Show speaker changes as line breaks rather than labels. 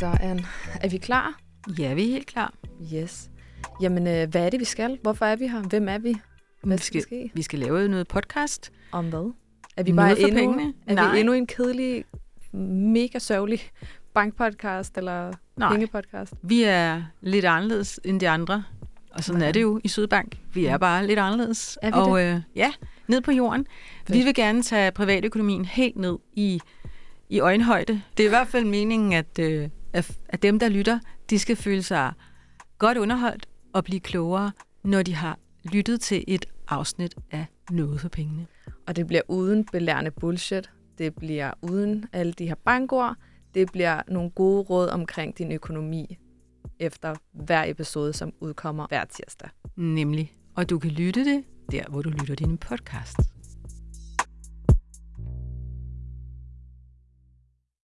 Sådan. Er vi klar?
Ja, vi er helt klar.
Yes. Jamen, øh, hvad er det, vi skal? Hvorfor er vi her? Hvem er vi? Hvad
Vi
skal, skal
skal-
ske?
Vi skal lave noget podcast.
Om hvad? Er vi
Noget
bare
for
endnu,
pengene?
Er
Nej.
vi endnu en kedelig, mega sørgelig bankpodcast eller
Nej,
pengepodcast?
vi er lidt anderledes end de andre. Og sådan
Hvordan?
er det jo i Sydbank. Vi er bare lidt anderledes.
Er vi
og Øh, ja, ned på jorden.
Fedt.
Vi vil gerne tage privatøkonomien helt ned i, i øjenhøjde. Det er i hvert fald meningen, at, øh, at, at dem, der lytter, de skal føle sig godt underholdt og blive klogere, når de har lyttet til et afsnit af Noget for pengene.
Og det bliver uden belærende bullshit. Det bliver uden alle de her bankord. Det bliver nogle gode råd omkring din økonomi efter hver episode, som udkommer hver tirsdag.
Nemlig. Og du kan lytte det der, hvor du lytter din podcast.